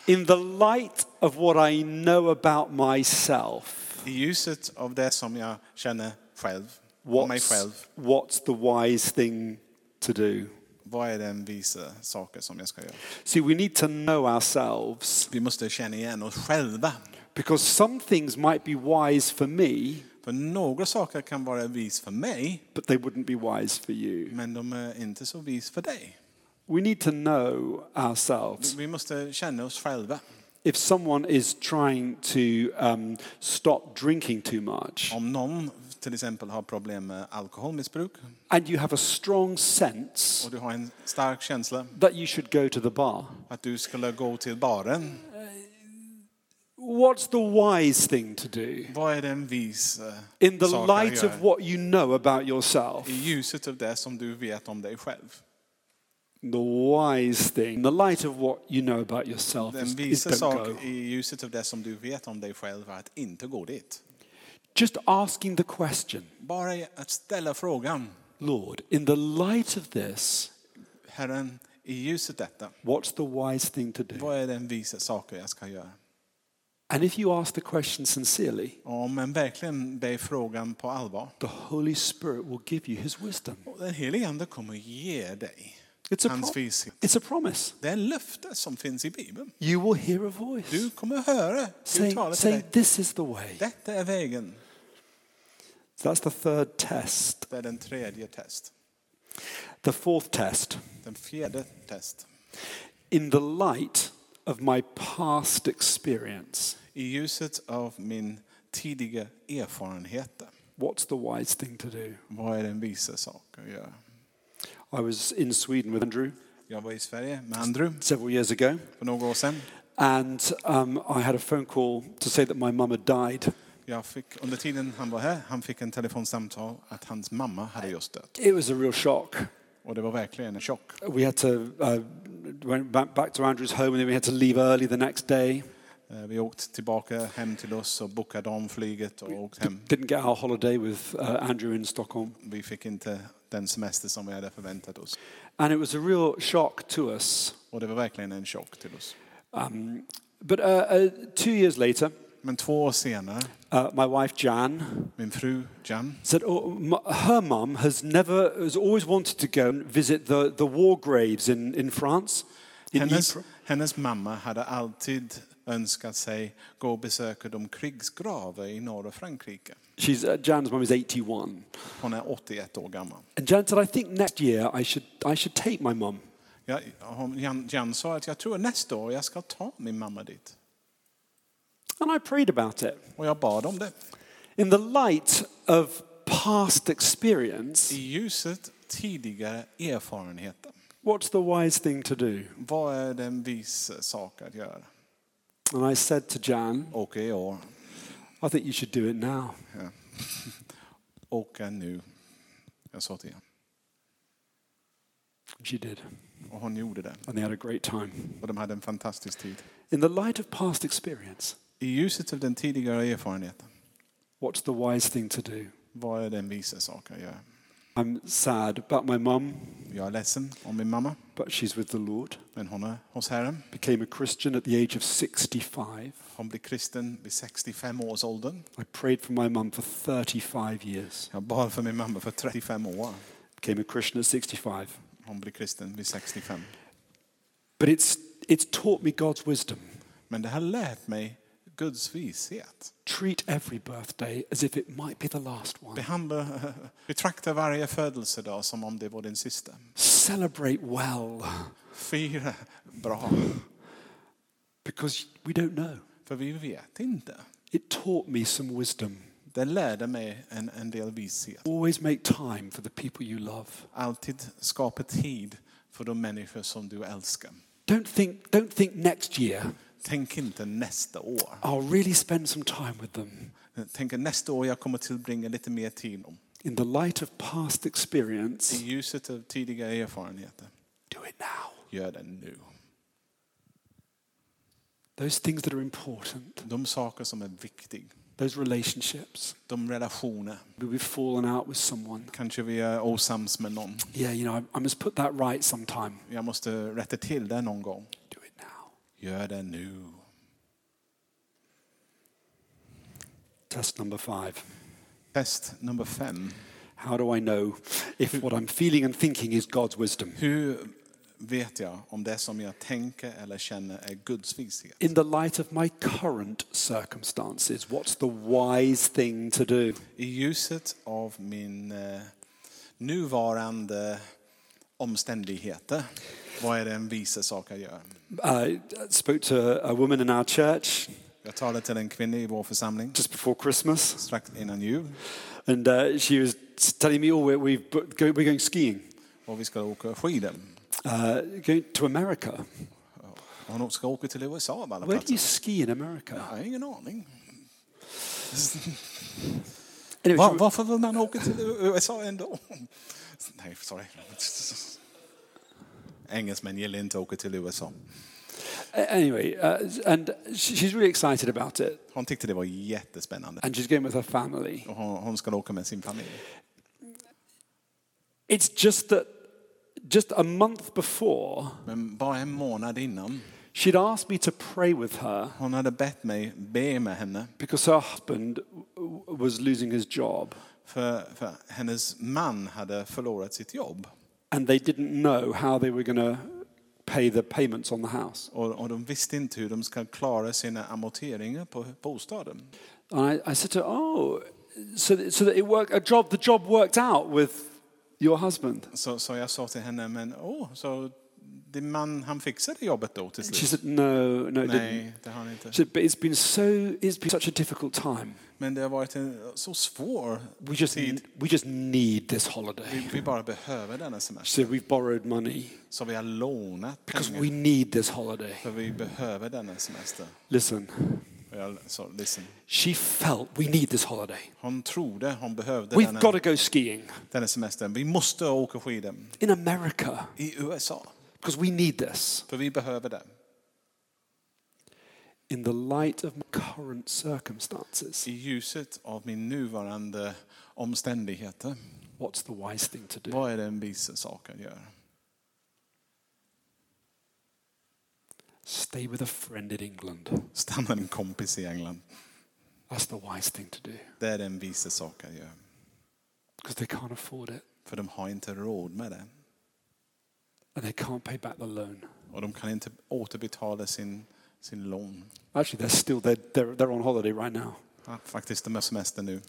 In the light of what I know about myself, I ljuset av det som jag känner själv, om mig what's, själv, what's the wise thing to do? Vad är den visa saker som jag ska göra? See, we need to know ourselves Vi måste känna igen oss själva. because some things might be wise for me, För några saker kan vara vis för mig, but they wouldn't be wise for you. men de är inte så vis för dig. We need to know ourselves. Vi måste känna oss själva. If someone is trying to um, stop drinking too much, Om någon till exempel har problem med alkoholmissbruk and you have a strong sense och du har en stark känsla that you should go to the bar, att du skulle gå till baren, what's the wise thing to do? vad är den vis eh, In the sak light att of göra? what you know about yourself, I ljuset av det som du vet om dig själv. the wise thing, in the light of what you know about yourself, Den is, is visa don't sak go. i ljuset av det som du vet om dig själv är att inte gå dit. Just asking the question, Bara att ställa frågan, Lord, in the light of this, Herren, i ljuset detta, what's the wise thing to do? vad är den visa saker jag ska göra? And if you ask the question sincerely, Och Om man verkligen ber frågan på allvar, the Holy Spirit will give you his wisdom. och den helige Ande kommer ge dig It's a, pro- hans vishet. it's a promise. Det är löfte som finns i Bibeln. You will hear a voice Du kommer höra Gud saying, tala till saying, dig. This is the way. Detta är vägen. That's the third test. Det är den tredje test. The fourth test. Den fjärde test. In the light of my past experience, I ljuset av min tidiga erfarenhet, what's the wise thing to do? vad är den visa sak att göra? I was in Sweden with Andrew Jag var i Sverige med Andrew several years ago, för några år sedan. and um, I had a phone call to say that my mum had died. Jag fick, under tiden han var här han fick en telefonsamtal att hans mamma hade just dött. It was a real shock. Och det var verkligen en chock. We had to uh, went back, back to Andrew's home, and then we had to leave early the next day. Eh, Vi åkte tillbaka hem till oss och bokade om flyget och åkte hem. Didn't get our holiday with uh, Andrew in Stockholm, Vi fick inte den semester som vi hade förväntat oss. and it was a real shock to us. Och det var verkligen en chock till oss. Um, but uh, uh, two years later, Men två år senare, uh, my wife Jan min fru Jan, said oh, m- her mum has never has always wanted to go and visit the, the war graves in, in France. In hennes, Ypres. hennes mamma hade alltid önskat sig gå och besöka de krigsgravar i norra Frankrike. She's uh, Jan's mum is 81, Hon är 81 år gammal. and Jan said, "I think next year I should I should take my mum." Jag, hon, Jan, Jan sa att jag tror nästa år jag ska ta min mamma dit. And I prayed about it Och jag bad om det. in the light of past experience. I ljuset tidigare erfarenheter. What's the wise thing to do? Vad är den vis sak att göra? And I said to Jan, Åka i år. "I think you should do it now." Åka nu. Jag sa till henne. And she did, Och hon gjorde det. and they had a great time. Och de hade en fantastisk tid. In the light of past experience, I ljuset av den tidigare erfarenheten. what's the wise thing to do? Vad är den visa sak att göra? I'm sad about my mum, Jag är ledsen om min mamma. but she's with the Lord. Men hon är hos Herren. Became a Christian at the age of 65. Hon blev kristen vid 65 års ålder. I prayed for my mum for 35 years. Jag bad för min mamma för 35 år. Became a Christian at 65. Hon blev kristen vid 65. But it's, it's taught me God's wisdom. Men det har lärt mig Guds vishet. Treat every birthday as if it might be the last <laughs> one. Behandla, betrakta varje födelsedag som om det var din sista. Celebrate well Fira bra, because we don't know. för vi vet inte. It taught me some wisdom. Det lärde mig en, en del vishet. Always make time for the people you love. Alltid skapa tid för de människor som du älskar. Don't think, don't think next year Tänk inte nästa år. I'll really spend some time with them. Tänk att nästa år jag kommer tillbringa lite mer tid om. In the light of past I experience, ljuset av tidigare erfarenheter, do it now. gör det nu. Those things that are important, De saker som är viktiga, those relationships. de relationer. Maybe we've fallen out with someone. Kanske vi är osams med någon. Yeah, you know, I, I must put that right sometime. Jag måste rätta till det någon gång. Do it now. Gör det nu. Test number five. Test nummer fem. How do I know if what I'm feeling and thinking is God's wisdom? Hur vet jag om det som jag tänker eller känner är Guds vishet? In the light of my current circumstances, what's the wise thing to do? I ljuset av min eh, nuvarande omständigheter, vad är den visa sak att göra? Uh, I spoke to a woman in our church Jag talade till en kvinna i vår församling just before Christmas, strax innan jul and uh, she was telling me, "Oh, we're, we've booked, go, we're going skiing, och vi ska åka skidor. uh, going to America." Hon ska åka till USA av alla Where do platser. you ski in America? Jag har ingen <laughs> aning. Anyway, Var, she- varför vill man åka till USA ändå? Nej, sorry. Engelsmän gillar inte att åka till USA. a- anyway, uh, and she- she's really excited about it, Hon tyckte det var jättespännande. and she's going with her family. Och hon, hon ska åka med sin familj. It's just that, just a month before, Men bara en månad innan, she'd asked me to pray with her hon hade bett mig be med henne. because her husband w- w- was losing his job, För, för hennes man hade förlorat sitt jobb. and they didn't know how they were going to pay the payments on the house. Och, och de visste inte hur de ska klara sina amorteringar på bostaden. And I, I said to her, "Oh, so that, so that it worked. A job, the job worked out with your husband." Så, så jag sa till henne, men åh, så din man han fixade jobbet då till She <laughs> slut? said, "No, no, it didn't." Nej, det har han inte. She said, "But it's been so. It's been such a difficult time. Men det har varit en eh, så svår We just tid. we just need this holiday." Vi, vi bara behöver denna She semester. said, "We've borrowed money Så vi har lånat because pengar, we need this holiday." för vi behöver denna semester. Listen, Och jag sa, listen. she felt we need this holiday. Hon trodde hon behövde We've denna, got to go skiing denna semestern. Vi måste åka skidor in America i USA, because we need this. för vi behöver det. In the light of my current circumstances, I ljuset av min nuvarande omständigheter, what's the wise thing to do? vad är den visa sak att göra? Stay with a friend in England. Stanna en kompis i England. That's the wise thing to do Det är den visa sak att göra. because they can't afford it För de har inte råd med det. and they can't pay back the loan. Och de kan inte återbetala sin, sin lån. Actually, they're still they're, they're, they're on holiday right now, Ja, faktiskt, de har semester nu.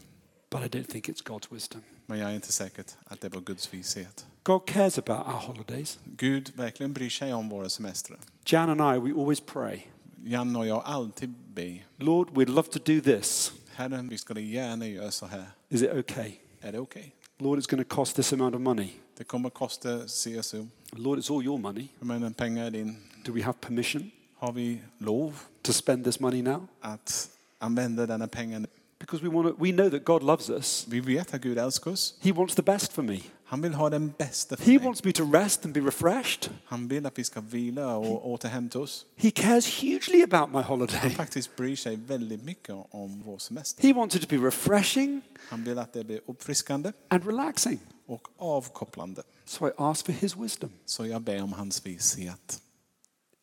but I don't think it's God's wisdom. Men jag är inte säker att det var Guds vishet. God cares about our holidays. Gud verkligen bryr sig om våra semestrar. Jan and I, we always pray, Jan och jag alltid ber. Lord, we'd love to do this. Herre, vi skulle gärna göra så här. Is it okay? Är det okej? Lord, it's going to cost this amount of money. Det kommer kosta si och så. Lord, it's all your money. Men pengar är din. Do we have permission Har vi lov to spend this money now? att använda denna pengar? Because we want to, we know that God loves us. Vi vet att Gud älskar oss. He wants the best for me. Han vill ha den bästa He för mig. wants me to rest and be refreshed. Han vill att vi ska vila och återhämta oss. He cares hugely about my holiday. <laughs> Faktiskt bryr sig väldigt mycket om vår semester. He wants it to be refreshing Han vill att det blir uppfriskande and relaxing. och avkopplande. So I ask for his wisdom Så jag ber om hans vishet.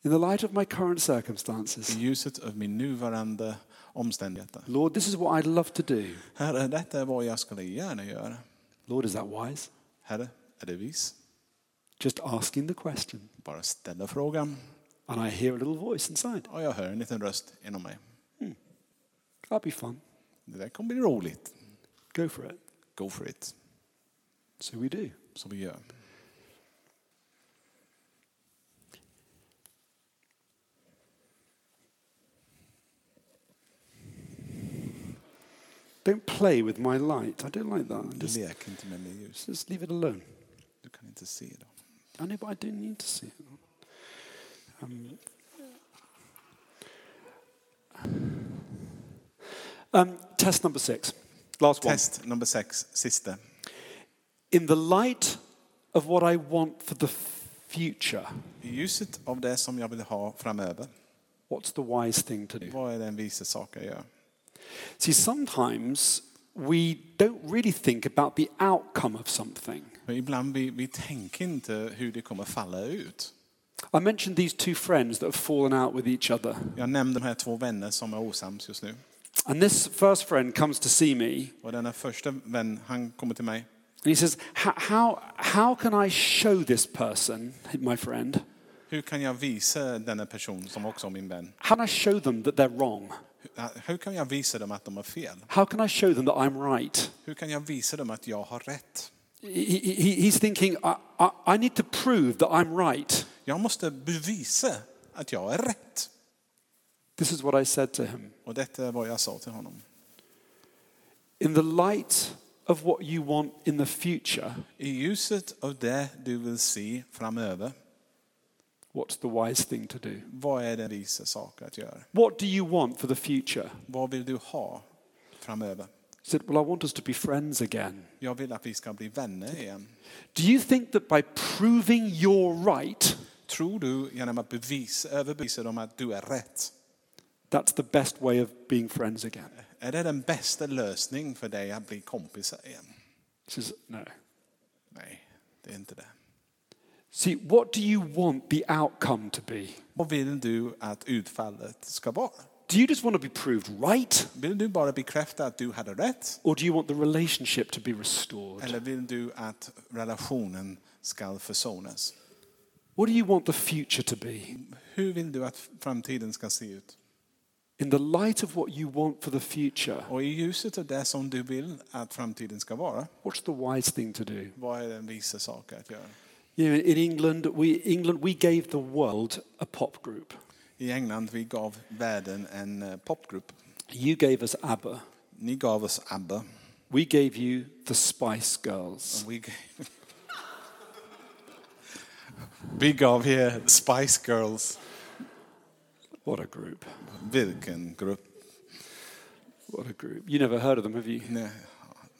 in the light of my current I circumstances. ljuset av min nuvarande omständigheter. Lord, this is what I'd love to do. Herre, detta är vad jag skulle gärna göra. Lord, is that wise? Herre, är det vis? Just asking the question. Bara ställa frågan And I hear a little voice inside. och jag hör en liten röst inom mig. That'd be fun. Det där kommer bli roligt. Go for it. Go for it. So we do. Så vi gör. Don't play with my light. I don't like that. Just, Lek inte med mitt ljus. just leave it alone. Du kan inte se dem. I know, but I don't need to see it. Um, um, test number six. Last one. Test nummer sex, sista. In the light of what I want for the future, I ljuset av det som jag vill ha framöver. what's the wise thing to do? Vad är den visa sak jag gör? See, sometimes we don't really think about the outcome of something. Men ibland vi, vi tänker inte hur det kommer falla ut. I mentioned these two friends that have fallen out with each other. Jag nämnde de här två vänner som är osams just nu. And this first friend comes to see me Och denna första vän, han kommer till mig. And he says, "How- how, how can I show this person, my friend, Hur kan jag visa denna person som också är min vän? how can I show them that they're wrong? Hur- Hur kan jag visa dem att de har fel? How can I show them that I'm right? Hur kan jag visa dem att jag har rätt? He, he- he- he's thinking, I, I, I need to prove that I'm right. Jag måste bevisa att jag är rätt. This is what I said to him. Och detta är vad jag sa till honom. In the light of what you want in the future, I ljuset av det du vill se framöver, what's the wise thing to do? vad är den visa sak att göra? What do you want for the future? Vad vill du ha framöver? He said, Well, I want us to be friends again. Jag vill att vi ska bli vänner igen. Do you think that by proving you're right, Tror du genom att bevisa, överbevisa dem att du är rätt? that's the best way of being friends again? Är det den bästa lösningen för dig att bli kompisar igen? He says, No. Nej, det är inte det. See, what do you want the outcome to be? Vad vill du att utfallet ska vara? Do you just want to be proved right? Vill du bara bekräfta att du hade rätt? Or do you want the relationship to be restored? Eller vill du att relationen ska försonas? What do you want the future to be? Hur vill du att framtiden ska se ut? In the light of what you want for the future, Och i ljuset av det som du vill att framtiden ska vara, what's the wise thing to do? vad är den visa sak att göra? You know, in England, we, England, we gave the world a pop group. I England vi gav världen en eh, popgrupp. You gave us ABBA. Ni gav oss ABBA. We gave you the Spice Girls. Vi gav, <laughs> vi gav er Spice Girls. What a group. Vilken grupp? What a group. You never heard of them, have you? Ni,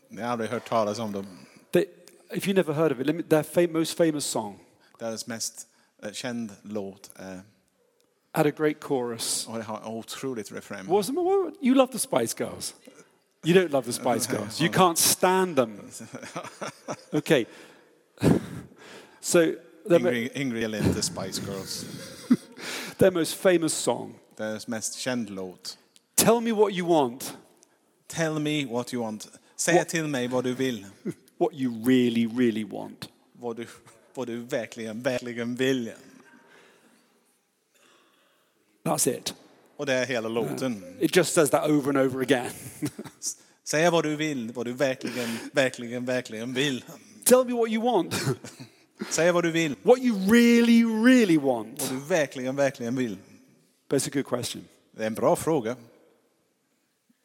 ni har aldrig hört talas om dem. They, if you never heard of it, let me, their fam- most famous song Deras mest eh, känd låt är, had a great chorus. och det har en otroligt refräng. Was you love the Spice Girls? You don't love the Spice Girls. You can't stand them. Okay. <laughs> So their, mo- Ingrid, Ingrid eller inte Spice Girls. their most famous song, Deras mest känd låt. "Tell Me What You Want," Tell me what you want. Säg What- till mig vad du vill. what you really, really want. Vad du, vad du verkligen, verkligen vill. That's it. Och det är hela låten. It just says that over and over again. <laughs> Säg vad du vill, vad du verkligen, verkligen, verkligen vill. Tell me what you want. <laughs> Säg vad du vill, what you really, really want. vad du verkligen, verkligen vill. But it's a good question. Det är en bra fråga.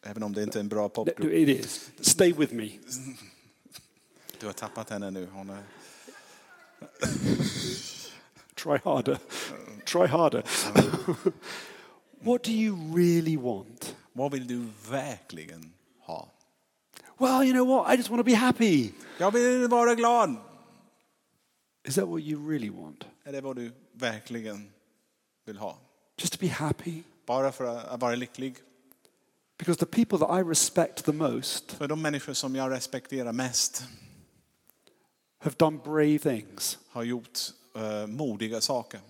Även om det inte är en bra Th- popgrupp. It is. Stay with me. Du har tappat henne nu. Hon är... Try harder. <laughs> Try harder. <laughs> what do you really want? Vad vill du verkligen ha? Well, you know what? I just want to be happy. Jag vill vara glad. Is that what you really want? Är det vad du verkligen vill ha? Just to be happy? Bara för att vara lycklig? Because the people that I respect the most För de människor som jag respekterar mest have done brave things, har gjort eh, modiga saker.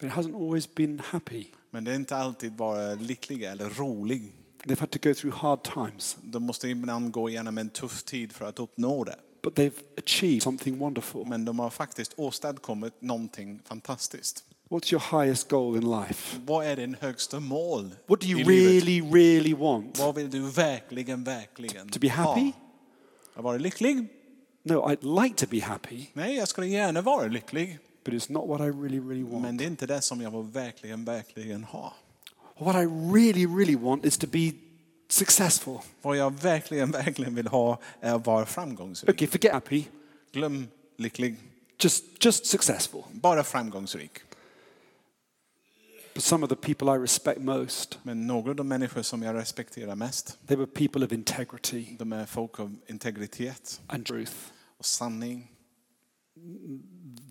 but it hasn't always been happy. Men det är inte alltid bara lyckliga eller rolig. They've had to go through hard times, De måste ibland gå igenom en tuff tid för att uppnå det. but they've achieved something wonderful. Men de har faktiskt åstadkommit någonting fantastiskt. What's your highest goal in life? Vad är din högsta mål What do i you livet? really, really want? Vad vill du verkligen, verkligen To be happy? ha? Att vara lycklig? No, I'd like to be happy, Nej, jag skulle gärna vara lycklig. but it's not what I really, really want. Men det är inte det som jag vill verkligen, verkligen ha. What I really, really want is to be successful. Vad jag verkligen, verkligen vill ha är att vara framgångsrik. Okay, forget happy, Glöm lycklig. just, just successful. Bara framgångsrik. But some of the people I respect most, Men några av de människor som jag respekterar mest, they were people of integrity de är folk av integritet and truth. och sanning.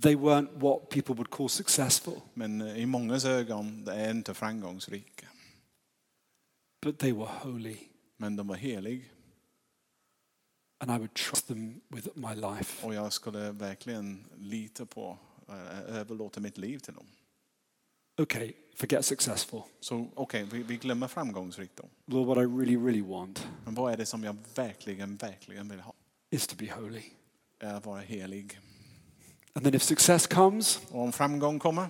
They weren't what people would call successful, Men i mångas ögon, det är inte framgångsrika. but they were holy, Men de var helig and I would trust them with my life. och jag skulle verkligen lita på, eh, överlåta mitt liv till dem. Okay, forget successful. Så okej, vi, vi glömmer framgångsrikt då. Lord, what I really, really want Men vad är det som jag verkligen, verkligen vill ha? is to be holy. är att vara helig. And then if success comes, Och om framgång kommer,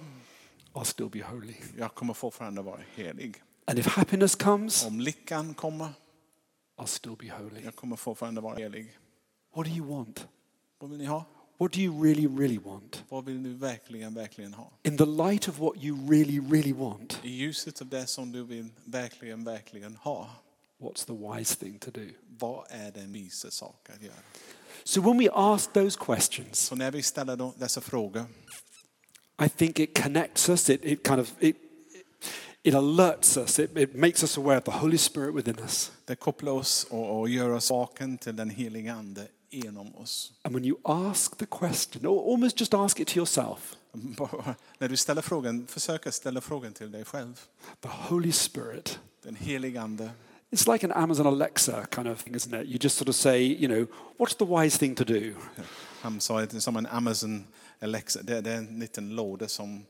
I'll still be holy. jag kommer fortfarande vara helig. And if happiness comes, Om lyckan kommer, I'll still be holy. jag kommer fortfarande vara helig. What do you want? Vad vill ni ha? What do you really, really want? Vad vill du verkligen, verkligen ha? In the light of what you really, really want, I ljuset av det som du vill verkligen, verkligen ha, what's the wise thing to do? vad är den vise sak att göra? So when we ask those questions, Så när vi ställer de- dessa frågor I think it connects us, it, it kind of it, it alerts us, it, it makes us aware of the Holy Spirit within us. Det kopplar oss och, och gör oss vaken till den heliga Ande genom oss. <laughs> And when you ask the question, or almost just ask it to yourself, Bara- När du ställer frågan, försök att ställa frågan till dig själv. the Holy Spirit. Den heliga Ande. It's like an Amazon Alexa kind of thing, isn't it? You just sort of say, you know, what's the wise thing to do? Han sa att det är som en Amazon Alexa. Det, det är en liten låda som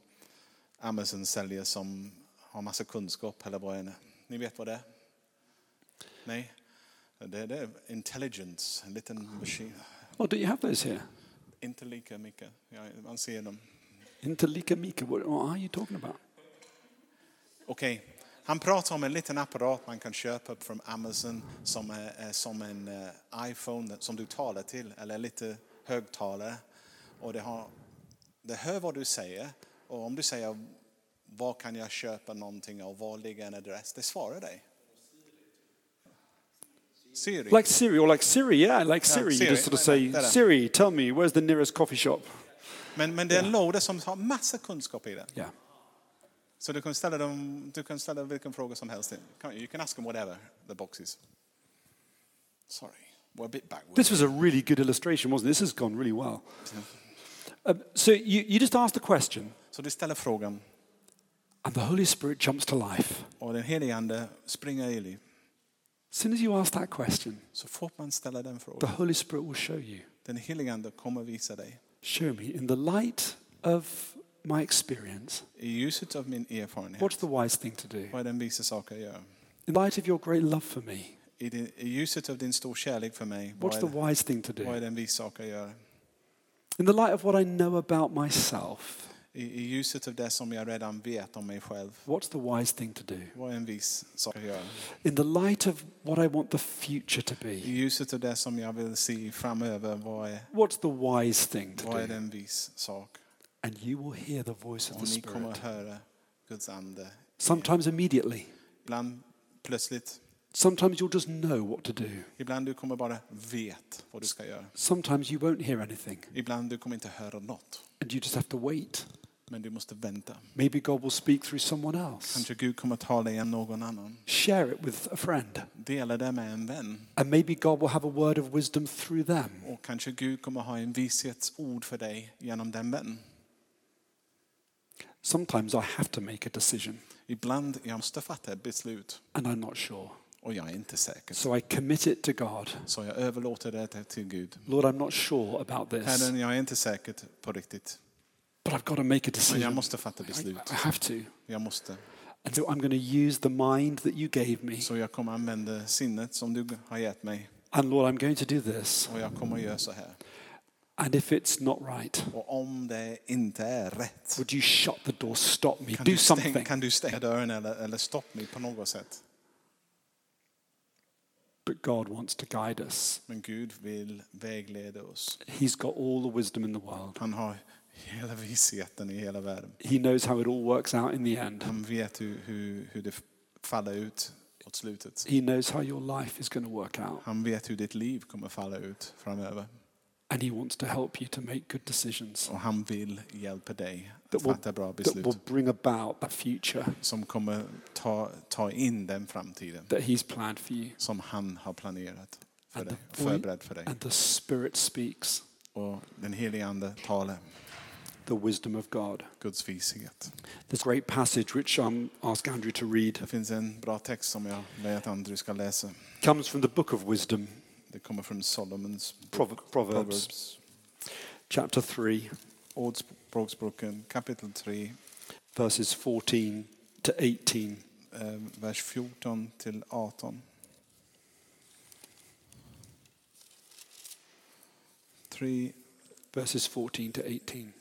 Amazon säljer som har massa kunskap eller vad är det? Ni vet vad det är? Nej? Det, det är intelligence, en liten maskin. Oh, do you have those here? Inte lika mycket. Ja, man ser dem. Interlika Mika, what, what are you talking about? Okej. Han pratar om en liten apparat man kan köpa från Amazon som är, är som en eh, iPhone som du talar till, eller lite högtalare. Och det, har, det hör vad du säger och om du säger var kan jag köpa någonting och var ligger en adress, det svarar dig. Siri. Like Siri, or like Siri, yeah, like Siri. Uh, Siri, You just sort of like say, that. Siri, tell me, where's the nearest coffee shop? Men, men det är en låda som har massa kunskap i den. Yeah. Så du kan ställa, dem, du kan ställa vilken fråga som helst. Can't You You can ask them whatever the box is. Sorry, we're a bit backward. This was a really good illustration, wasn't it? This has gone really well. Uh, so you, you just ask the question, Så du ställer frågan and the Holy Spirit jumps to life. och den helige Ande springer i liv. As soon as you ask that question, Så fort man ställer den the frågan, Holy Spirit will show you. den helige Ande kommer visa dig. Show me, in the light of my experience, I ljuset av min erfarenhet, what's the wise thing to do? vad är den visa sak att göra? In light of your great love for me, I, din, I ljuset av din stor kärlek för mig, vad what's the är, wise thing to vad är do? den visa sak att göra? In the light of what I know about myself, I, I ljuset av det som jag redan vet om mig själv, what's the wise thing to do? vad är en vis sak att göra? In the light of what I want the future to I be, ljuset av det som jag vill se framöver, vad är, what's the wise thing to vad är do? den vis sak? And you will hear the voice of Och the ni kommer Spirit. att höra Guds Ande. Sometimes immediately. Ibland plötsligt, Sometimes you'll just know what to do. ibland du kommer bara vet vad du ska göra. Sometimes you won't hear anything Ibland du kommer inte höra något, and you just have to wait. men du måste vänta. Maybe God will speak through someone else. Kanske Gud kommer tala igen någon annan. Share it with a friend. Dela det med en vän. And maybe God will have a word of wisdom through them. Och kanske Gud kommer ha en vishetsord för dig genom den vän. Sometimes I have to make a decision Ibland jag måste fatta ett beslut and I'm not sure. och jag är inte säker. So I commit it to God. Så jag överlåter det till Gud. Lord, I'm not sure about this, Herren, jag är inte säker på riktigt. but I've got to make a Men jag decision. måste fatta I, beslut. I have to. Jag måste. And so I'm going to use the mind that you gave me. Så jag kommer använda sinnet som du har gett mig. And Lord, I'm going to do this. Och jag kommer göra så här. And if it's not right, Och om det inte är rätt. would you shut the door, stop me, Kan do du, stäng, something? kan du stänga dörren eller, eller stoppa mig på något sätt? But God wants to guide us. Men Gud vill vägleda oss. He's got all the wisdom in the world. Han har hela visheten i hela världen. He knows how it all works out in the end. Han vet hur, hur, hur det faller ut åt slutet. He knows how your life is going to work out. Han vet hur ditt liv kommer falla ut framöver. And He wants to help you to make good decisions Och han vill hjälpa dig That att will- fatta bra that will beslut. bring about that future Som kommer ta, ta in den framtiden that He's planned for you. som han har planerat för And dig, the voi- förberett för dig. And the Spirit speaks Och den helige Ande talar the wisdom of God. Guds vishet. This great passage, which I'm ask Andrew to read, Det finns en bra text som jag vill att Andrew ska läsa. comes from the book of wisdom, Det kommer från Solomons Prov- Proverbs, Proverbs, chapter 3, Ordspråksboken kapitel 3, verses 14 to 18. eh, vers 14 till 18. 3 verses 14 to 18.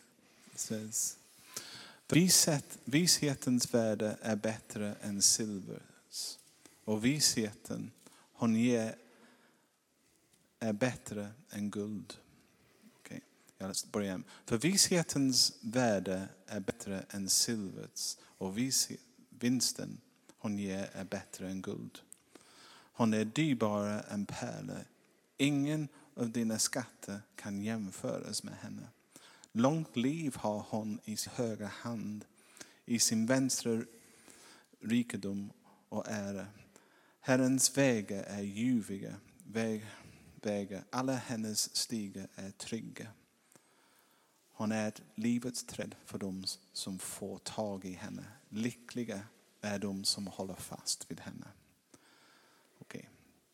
says, Vishet, vishetens värde är bättre än silvers och visheten hon ger är bättre än guld. Okej, jag läser- börjar igen. För vishetens värde är bättre än silvers och vishe- vinsten hon ger är bättre än guld. Hon är dyrbarare än pärlor. Ingen av dina skatter kan jämföras med henne. Långt liv har hon i sin högra hand, i sin vänstra rikedom och ära. Herrens vägar är ljuviga väg, vägar, alla hennes stigar är trygga. Hon är ett livets träd för dem som får tag i henne. Lyckliga är de som håller fast vid henne. Okej.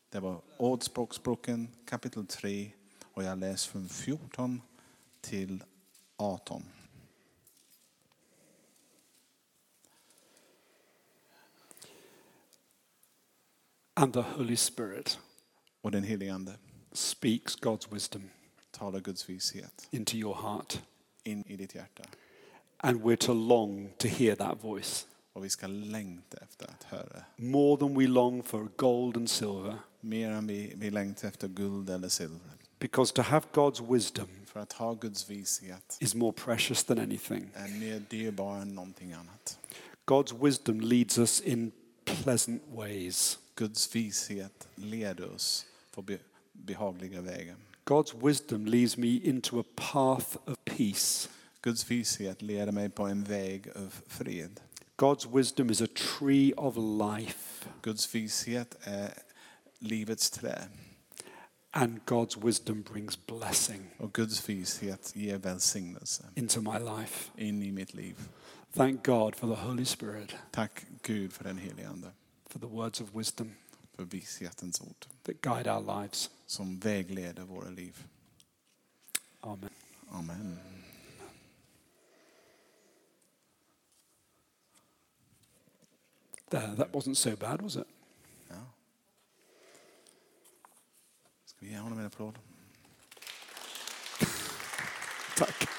Det var Ordspråksboken kapitel 3 och jag läser från 14 till 18. And the Holy Spirit Och den helige Ande speaks God's wisdom talar Guds vishet into your heart. in i ditt hjärta. And we're to long to hear that voice Och vi ska längta efter att höra. more than we long for gold and silver. Mer än vi, vi längtar efter guld eller silver. Because to have God's wisdom För att ha Guds vishet is more precious than anything. är mer dyrbar än någonting annat. God's wisdom leads us in pleasant ways. Guds vishet leder oss på be- behagliga vägar. God's wisdom leads me into a path of peace. Guds vishet leder mig på en väg av fred. God's wisdom is a tree of life, Guds vishet är livets trä and God's wisdom brings blessing och Guds vishet ger välsignelse into my life. in i mitt liv. Thank God for the Holy Spirit, Tack Gud för den helige Ande, for the words of wisdom för vishetens ord that guide our lives. som vägleder våra liv. Amen. Amen. There, that wasn't so bad, was it? Ja. Ska vi ge honom en applåd? Tack.